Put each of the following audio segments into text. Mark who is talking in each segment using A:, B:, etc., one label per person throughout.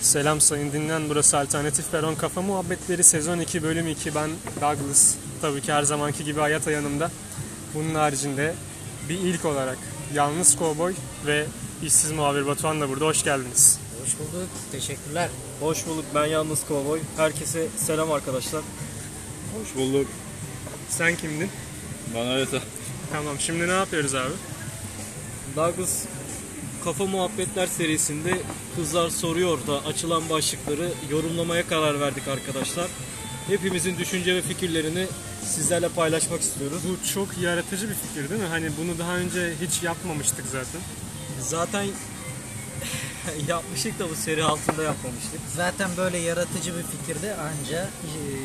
A: Selam sayın dinlen burası Alternatif Peron Kafa Muhabbetleri sezon 2 bölüm 2 ben Douglas tabii ki her zamanki gibi hayat yanımda. Bunun haricinde bir ilk olarak Yalnız Kovboy ve işsiz muhabir Batuhan da burada hoş geldiniz.
B: Hoş bulduk. Teşekkürler.
C: Hoş bulduk ben Yalnız Kovboy. Herkese selam arkadaşlar.
D: Hoş bulduk.
A: Sen kimdin?
D: Bana harita.
A: Tamam şimdi ne yapıyoruz abi?
C: Douglas Kafa Muhabbetler serisinde Kızlar Soruyor da açılan başlıkları yorumlamaya karar verdik arkadaşlar. Hepimizin düşünce ve fikirlerini sizlerle paylaşmak istiyoruz.
A: Bu çok yaratıcı bir fikir değil mi? Hani bunu daha önce hiç yapmamıştık zaten.
C: Zaten yapmıştık da bu seri altında yapmamıştık.
B: Zaten böyle yaratıcı bir fikirde anca eee,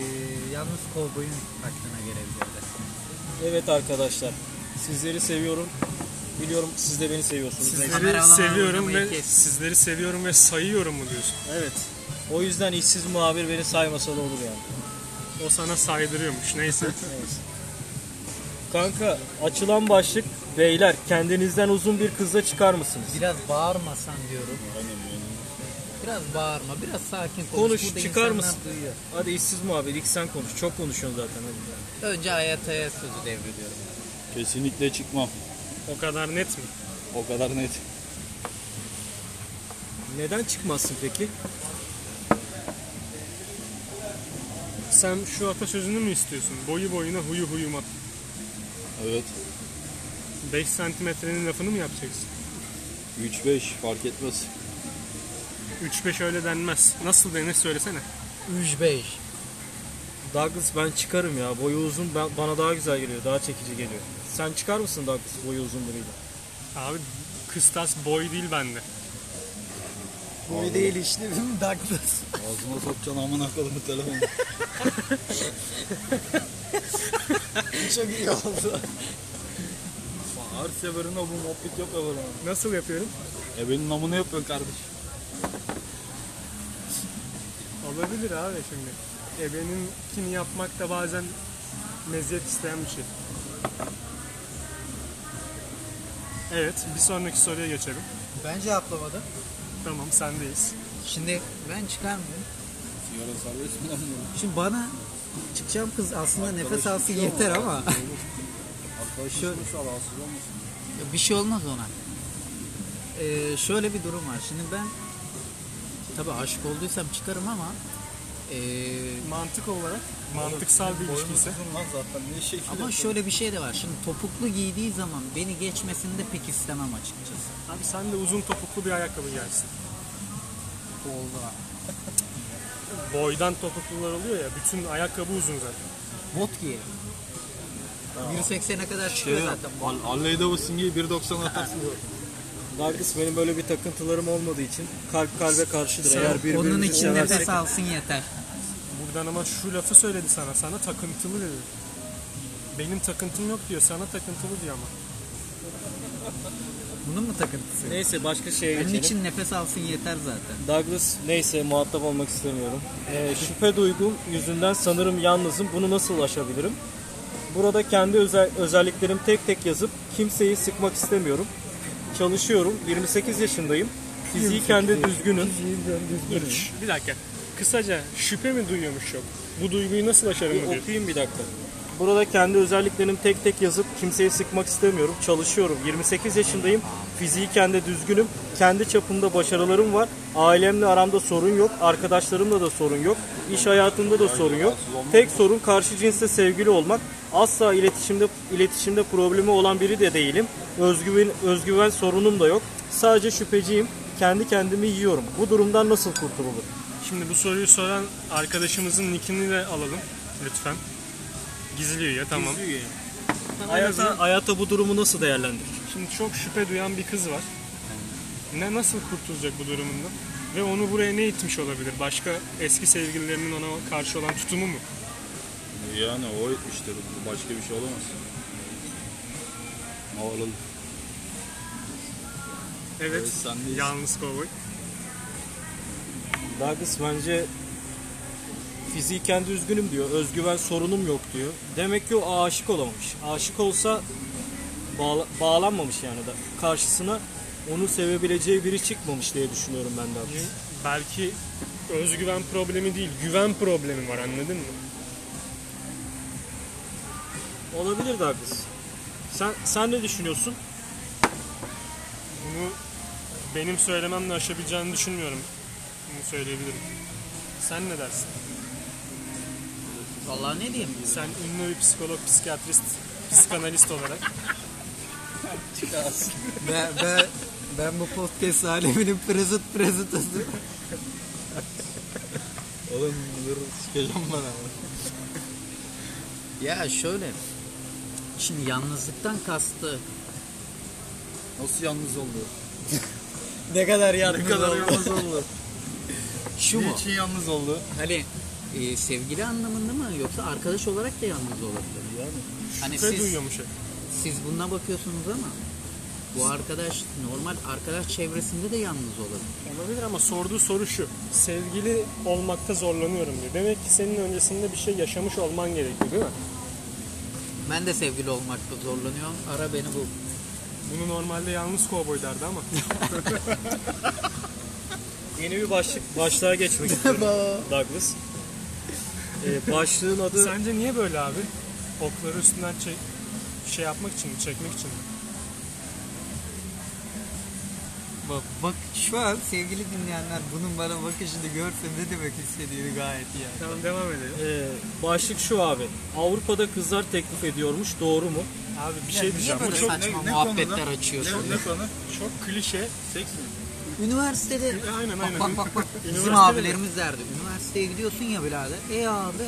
B: yalnız kovboyun aklına gelebilirdi.
C: Evet arkadaşlar sizleri seviyorum. Biliyorum siz de beni seviyorsunuz.
A: Sizleri
B: Kameraman
A: seviyorum
B: oynamayı
A: ve
B: kes.
A: sizleri seviyorum ve sayıyorum mu diyorsun?
C: Evet. O yüzden işsiz muhabir beni saymasa da olur yani.
A: O sana saydırıyormuş. Neyse.
C: Neyse. Kanka açılan başlık beyler kendinizden uzun bir kızla çıkar mısınız?
B: Biraz bağırmasan diyorum. Biraz bağırma, biraz sakin konuş.
C: Konuş,
B: Burada
C: çıkar
B: insanlar
C: mısın?
B: Duyuyor.
C: Hadi işsiz muhabbet ilk sen konuş. Çok konuşuyorsun zaten hadi.
B: Önce hayataya sözü devrediyorum.
D: Kesinlikle çıkmam.
A: o kadar net mi?
D: O kadar net.
C: Neden çıkmazsın peki?
A: Sen şu atasözünü mü istiyorsun? Boyu boyuna huyu huyuma.
D: Evet.
A: 5 santimetrenin lafını mı yapacaksın?
D: 3-5 fark etmez.
A: 3-5 öyle denmez. Nasıl denir söylesene.
B: 3-5.
C: Douglas ben çıkarım ya. Boyu uzun ben, bana daha güzel geliyor. Daha çekici geliyor. Sen çıkar mısın Douglas boyu uzun biriyle?
A: Abi kıstas boy değil bende.
B: Bu değil işte bizim Douglas.
D: Ağzına sokacaksın amına kodumu telefonu.
B: Çok iyi oldu.
C: Her seferinde bu muhabbet yok ama.
A: Nasıl yapıyorum?
D: E benim namını yapıyorsun kardeş.
A: Olabilir abi şimdi. E benimkini yapmak da bazen meziyet isteyen bir şey. Evet, bir sonraki soruya geçelim.
B: Ben cevaplamadım.
A: Tamam, sendeyiz.
B: Şimdi ben çıkar mıyım?
D: Sigara serbest mi lan bu?
B: Şimdi bana çıkacağım kız aslında nefes alsın yeter ama
D: Arkadaşlar mısın? Rahatsız olmasın.
B: Ya Bir şey olmaz ona. Ee, şöyle bir durum var. Şimdi ben tabii aşık olduysam çıkarım ama ee,
A: Mantık olarak, mantıksal bir
D: Boyun
A: ilişki ise
D: uzun lan zaten. Ne şekil
B: ama
D: yapıyorsun?
B: şöyle bir şey de var. Şimdi topuklu giydiği zaman beni geçmesini de pek istemem açıkçası.
A: Abi sen de uzun topuklu bir ayakkabı giyersin.
B: Oldu ha.
A: Boydan topuklular oluyor ya, bütün ayakkabı uzun zaten.
B: Bot giyerim. 1.80'e kadar çıkıyor
D: Şey,
B: zaten. bu.
D: Al- Harley Davidson'ı 1.90 atarsın.
C: Douglas benim böyle bir takıntılarım olmadığı için kalp kalbe karşıdır. Eğer birbirimizi
B: Onun için
C: seversek-
B: nefes alsın yeter.
A: Buradan ama şu lafı söyledi sana. Sana takıntılı dedi. Benim takıntım yok diyor. Sana takıntılı diyor ama.
B: Bunun mu takıntısı?
C: Neyse başka şeye
B: Onun
C: geçelim.
B: için nefes alsın yeter zaten.
C: Douglas neyse muhatap olmak istemiyorum. Ee, şüphe duygum yüzünden sanırım yalnızım. Bunu nasıl aşabilirim? Burada kendi özel, özelliklerim tek tek yazıp kimseyi sıkmak istemiyorum. Çalışıyorum. 28 yaşındayım. Fiziği kendi düzgünüm.
A: Bir dakika. Kısaca şüphe mi duyuyormuş yok? Bu duyguyu nasıl aşarım
C: Bir
A: mı diyor?
C: okuyayım bir dakika. Burada kendi özelliklerim tek tek yazıp kimseyi sıkmak istemiyorum. Çalışıyorum. 28 yaşındayım. Fiziği kendi düzgünüm. Kendi çapımda başarılarım var. Ailemle aramda sorun yok. Arkadaşlarımla da sorun yok. İş hayatımda da sorun yok. Tek sorun karşı cinsle sevgili olmak. Asla iletişimde iletişimde problemi olan biri de değilim. Özgüven özgüven sorunum da yok. Sadece şüpheciyim. Kendi kendimi yiyorum. Bu durumdan nasıl kurtululur?
A: Şimdi bu soruyu soran arkadaşımızın nickini de alalım. Lütfen. Gizliyor ya tamam.
C: Hayata, hayata bu durumu nasıl değerlendirir?
A: Şimdi çok şüphe duyan bir kız var. Ne nasıl kurtulacak bu durumundan? Ve onu buraya ne itmiş olabilir? Başka eski sevgililerinin ona karşı olan tutumu mu?
D: Yani o etmiştir. Başka bir şey olamaz. Havalı.
A: Evet.
D: Evet, sendeyiz.
A: Yalnız kovboy.
C: Douglas bence fiziği kendi üzgünüm diyor. Özgüven sorunum yok diyor. Demek ki o aşık olamamış. Aşık olsa bağla- bağlanmamış yani da karşısına onu sevebileceği biri çıkmamış diye düşünüyorum ben de.
A: Y- belki özgüven problemi değil, güven problemi var anladın mı?
C: Olabilir de haklısın. Sen, sen ne düşünüyorsun?
A: Bunu benim söylememle aşabileceğini düşünmüyorum. Bunu söyleyebilirim. Sen ne dersin?
B: Vallahi ne diyeyim?
A: Sen ünlü bir psikolog, psikiyatrist, psikanalist olarak
B: Ben, ben, ben bu podcast aleminin present presentası.
E: Oğlum dur sikeceğim bana.
B: Ya şöyle. Şimdi yalnızlıktan kastı.
E: Nasıl yalnız oldu?
B: Ne kadar yalnız
E: Ne kadar yalnız oldu?
B: Şu mu?
E: Niçin yalnız oldu?
B: Hani e, sevgili anlamında mı yoksa arkadaş olarak da yalnız olabilir. Hani
E: Şey
A: şüphe
B: siz,
A: duyuyormuş hep.
B: siz buna bakıyorsunuz ama bu arkadaş normal arkadaş çevresinde de yalnız olabilir.
A: Olabilir ama sorduğu soru şu. Sevgili olmakta zorlanıyorum diyor. Demek ki senin öncesinde bir şey yaşamış olman gerekiyor değil mi?
B: Ben de sevgili olmakta zorlanıyorum. Ara beni bul.
A: Bunu normalde yalnız kovboy derdi ama.
C: Yeni bir başlık başlığa geçmek istiyorum Douglas. Ee, başlığın adı
A: Sence niye böyle abi? Okları üstünden çek, şey yapmak için mi, çekmek için mi?
E: Bak, bak şu an sevgili dinleyenler bunun bana bakışını görse ne demek istediğini gayet iyi. anlıyor.
A: Tamam devam edelim.
C: Ee, başlık şu abi. Avrupa'da kızlar teklif ediyormuş. Doğru mu?
A: Abi bir
B: Ya
A: şey
B: niye
A: diyeceğim. Bu
B: böyle
A: çok,
B: saçma
E: ne- ne
B: muhabbetler
E: konuda?
B: açıyorsun?
E: Ne, ne konu?
A: çok klişe.
E: Seks mi?
B: Üniversitede
A: Aynen aynen.
B: bak bak bak bizim
A: Üniversitede
B: abilerimiz derdi. Üniversiteye gidiyorsun ya birader. E abi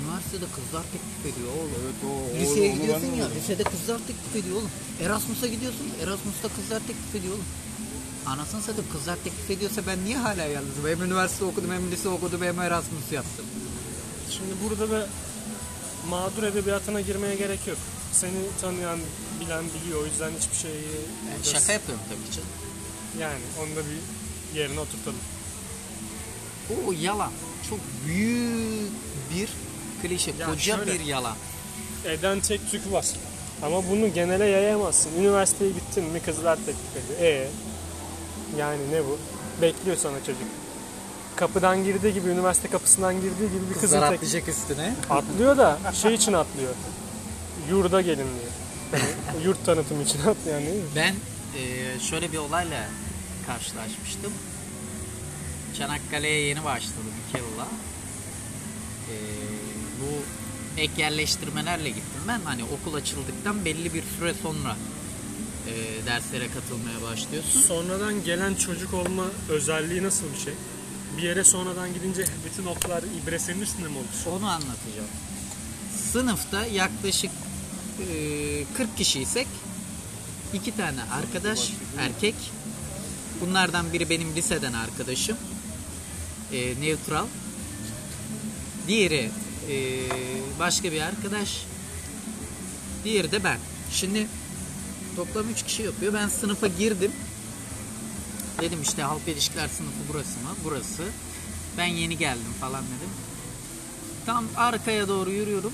B: üniversitede kızlar teklif ediyor oğlum.
E: Evet o.
B: Liseye
E: onu ben de
B: gidiyorsun ya,
E: anladım.
B: lisede kızlar teklif ediyor oğlum. Erasmus'a gidiyorsun, Erasmus'ta kızlar teklif ediyor oğlum. Anasını satayım kızlar teklif ediyorsa ben niye hala yalnızım? Hem üniversite okudum, hem lise okudum, hem Erasmus yaptım.
A: Şimdi burada da mağdur edebiyatına girmeye gerek yok. Seni tanıyan, bilen biliyor. O yüzden hiçbir şeyi... E,
B: Yani şaka yapıyorum tabii canım.
A: Yani onu da bir yerine oturtalım.
B: O yalan. Çok büyük bir klişe,
A: Ya
B: koca
A: şöyle-
B: bir yalan.
A: Eden tek tük var. Ama bunu genele yayamazsın. Üniversiteye gittin mi kızlar teklif ediyor. E yani ne bu? Bekliyor sana çocuk. Kapıdan girdiği gibi, üniversite kapısından girdiği gibi bir kızın
B: Kızlar
A: tek...
B: atlayacak üstüne.
A: Atlıyor da şey için atlıyor. Yurda gelin diye. Yani yurt tanıtımı için atlıyor yani değil mi?
B: Ben eee, şöyle bir olayla karşılaşmıştım. Çanakkale'ye yeni başladım iki yılla. Eee, bu ek yerleştirmelerle gittim ben. Hani okul açıldıktan belli bir süre sonra eee, derslere katılmaya başlıyorsun.
A: Sonradan gelen çocuk olma özelliği nasıl bir şey? Bir yere sonradan gidince bütün oklar ibre senin üstünde mi olur?
B: Onu anlatacağım. Sınıfta yaklaşık eee, 40 kişiysek iki tane arkadaş erkek. Bunlardan biri benim liseden arkadaşım. Eee e, neutral. Diğeri eee, başka bir arkadaş. Diğeri de ben. Şimdi toplam 3 kişi yapıyor. Ben sınıfa girdim. Dedim işte halk ilişkiler sınıfı burası mı? Burası. Ben yeni geldim falan dedim. Tam arkaya doğru yürüyorum.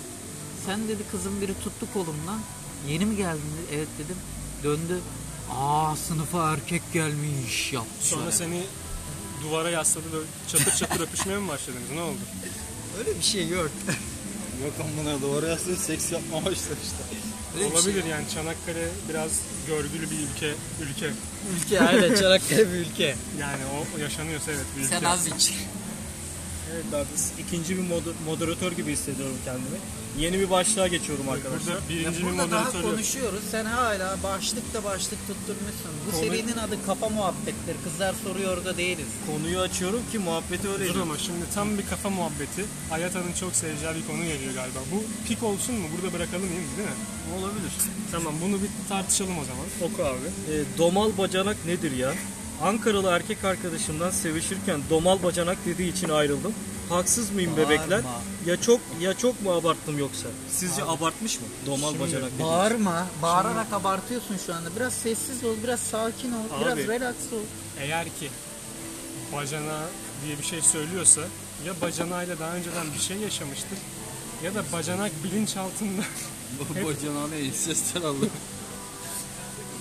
B: Sen dedi kızın biri tuttu kolumdan. Yeni mi geldin dedi. Evet dedim. Döndü. Aa sınıfa erkek gelmiş yapmışlar.
A: Sonra seni duvara yasladı böyle çatır çatır öpüşmeye mi başladınız? Ne oldu?
B: Öyle bir şey yok.
E: Yok amına doğru yazsın seks yapma başla işte.
B: Öyle bir şey
A: Olabilir yani Çanakkale biraz görgülü bir ülke. Ülke.
B: Ülke aynen Çanakkale bir ülke.
A: Yani o yaşanıyorsa evet bir ülke.
B: Sen az iç.
C: Evet Douglas. İkinci bir moder- moderatör gibi hissediyorum kendimi. Yeni bir başlığa geçiyorum arkadaşlar.
A: Burada birinci bir
B: Burada daha
A: moderatör yok.
B: konuşuyoruz. Sen hala başlıkta başlık tutturmuşsun. Bu
A: Konu-
B: serinin adı kafa muhabbetleri. Kızlar soruyor da değiliz.
C: Konuyu açıyorum ki muhabbeti öyle.
A: Dur ama şimdi tam bir kafa muhabbeti. Hayata'nın çok seveceği bir konu geliyor galiba. Bu pik olsun mu? Burada bırakalım iyi mi? Değil mi?
C: Olabilir.
A: Tamam bunu bir tartışalım o zaman.
C: Oku abi. Ee, domal bacanak nedir ya? Ankaralı erkek arkadaşımdan sevişirken domal bacanak dediği için ayrıldım. Haksız mıyım
E: Bağırma.
C: bebekler? Ya çok ya çok mu abarttım yoksa? Sizce abartmış mı? Domal
A: Şimdi
C: bacanak dediği.
B: Bağırma. Bağırarak abartıyorsun şu anda. Biraz sessiz ol, biraz sakin ol,
A: Abi.
B: biraz relax ol.
A: Eğer ki bacana diye bir şey söylüyorsa ya bacanayla daha önceden bir şey yaşamıştır ya da bacanak bilinç altında
E: Bu bacana ne insestler aldı.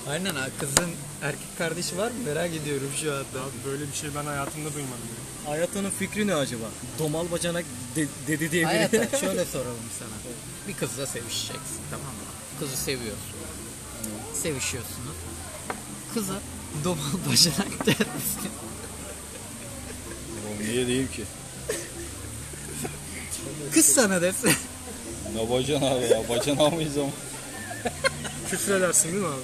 B: Aynen ha kızın
E: erkek kardeşi var mı? Merak ediyorum şu anda.
A: Abi böyle bir şey ben hayatımda duymadım. ya.
C: Hayatının fikri ne acaba? Domal bacanak de- dedi diye biri.
B: Hayata şöyle soralım sana. Bir kızla sevişeceksin tamam mı? Kızı seviyorsun. Sevişiyorsunuz. Kıza domal bacanak der misin?
D: Oğlum niye diyeyim ki?
B: Kız sana desin.
D: Ne bacan abi ya? Bacan mıyız ama?
A: Küfür edersin değil mi abi?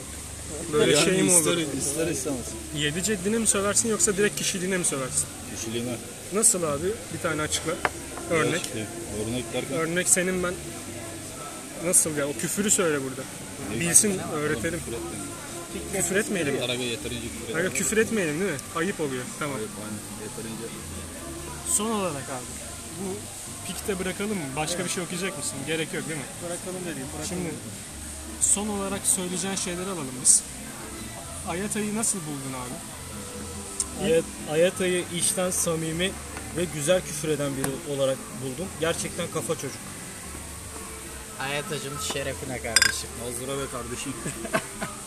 A: Böyle şey mi olur?
D: ister, ister istemez.
A: Yedi ceddini mi söversin yoksa direkt kişiliğine mi söversin?
D: Kişiliğime.
A: Nasıl abi? Bir tane açıkla. Örnek.
D: Şey, Örnek derken.
A: Örnek senin ben. Nasıl ya? O küfürü söyle burada. Bilsin, öğretelim.
D: Küfür etmeyin.
A: Küfür etmeyelim.
D: Araba yeterince küfür etmeyin.
A: Aga küfür etmeyelim değil mi? Ayıp oluyor. Tamam.
D: Aynen, Yeterince.
A: Son olarak abi. Bu pikte bırakalım mı? Başka bir şey okuyacak mısın? Gerek yok değil mi?
C: Bırakalım dediğim.
A: Şimdi son olarak söyleyeceğin şeyleri alalım biz. Ayata'yı nasıl buldun abi?
C: Ayat, Ayata'yı işten samimi ve güzel küfür eden biri olarak buldum. Gerçekten kafa çocuk.
B: Hayatacım şerefine kardeşim.
D: Azra ve kardeşim.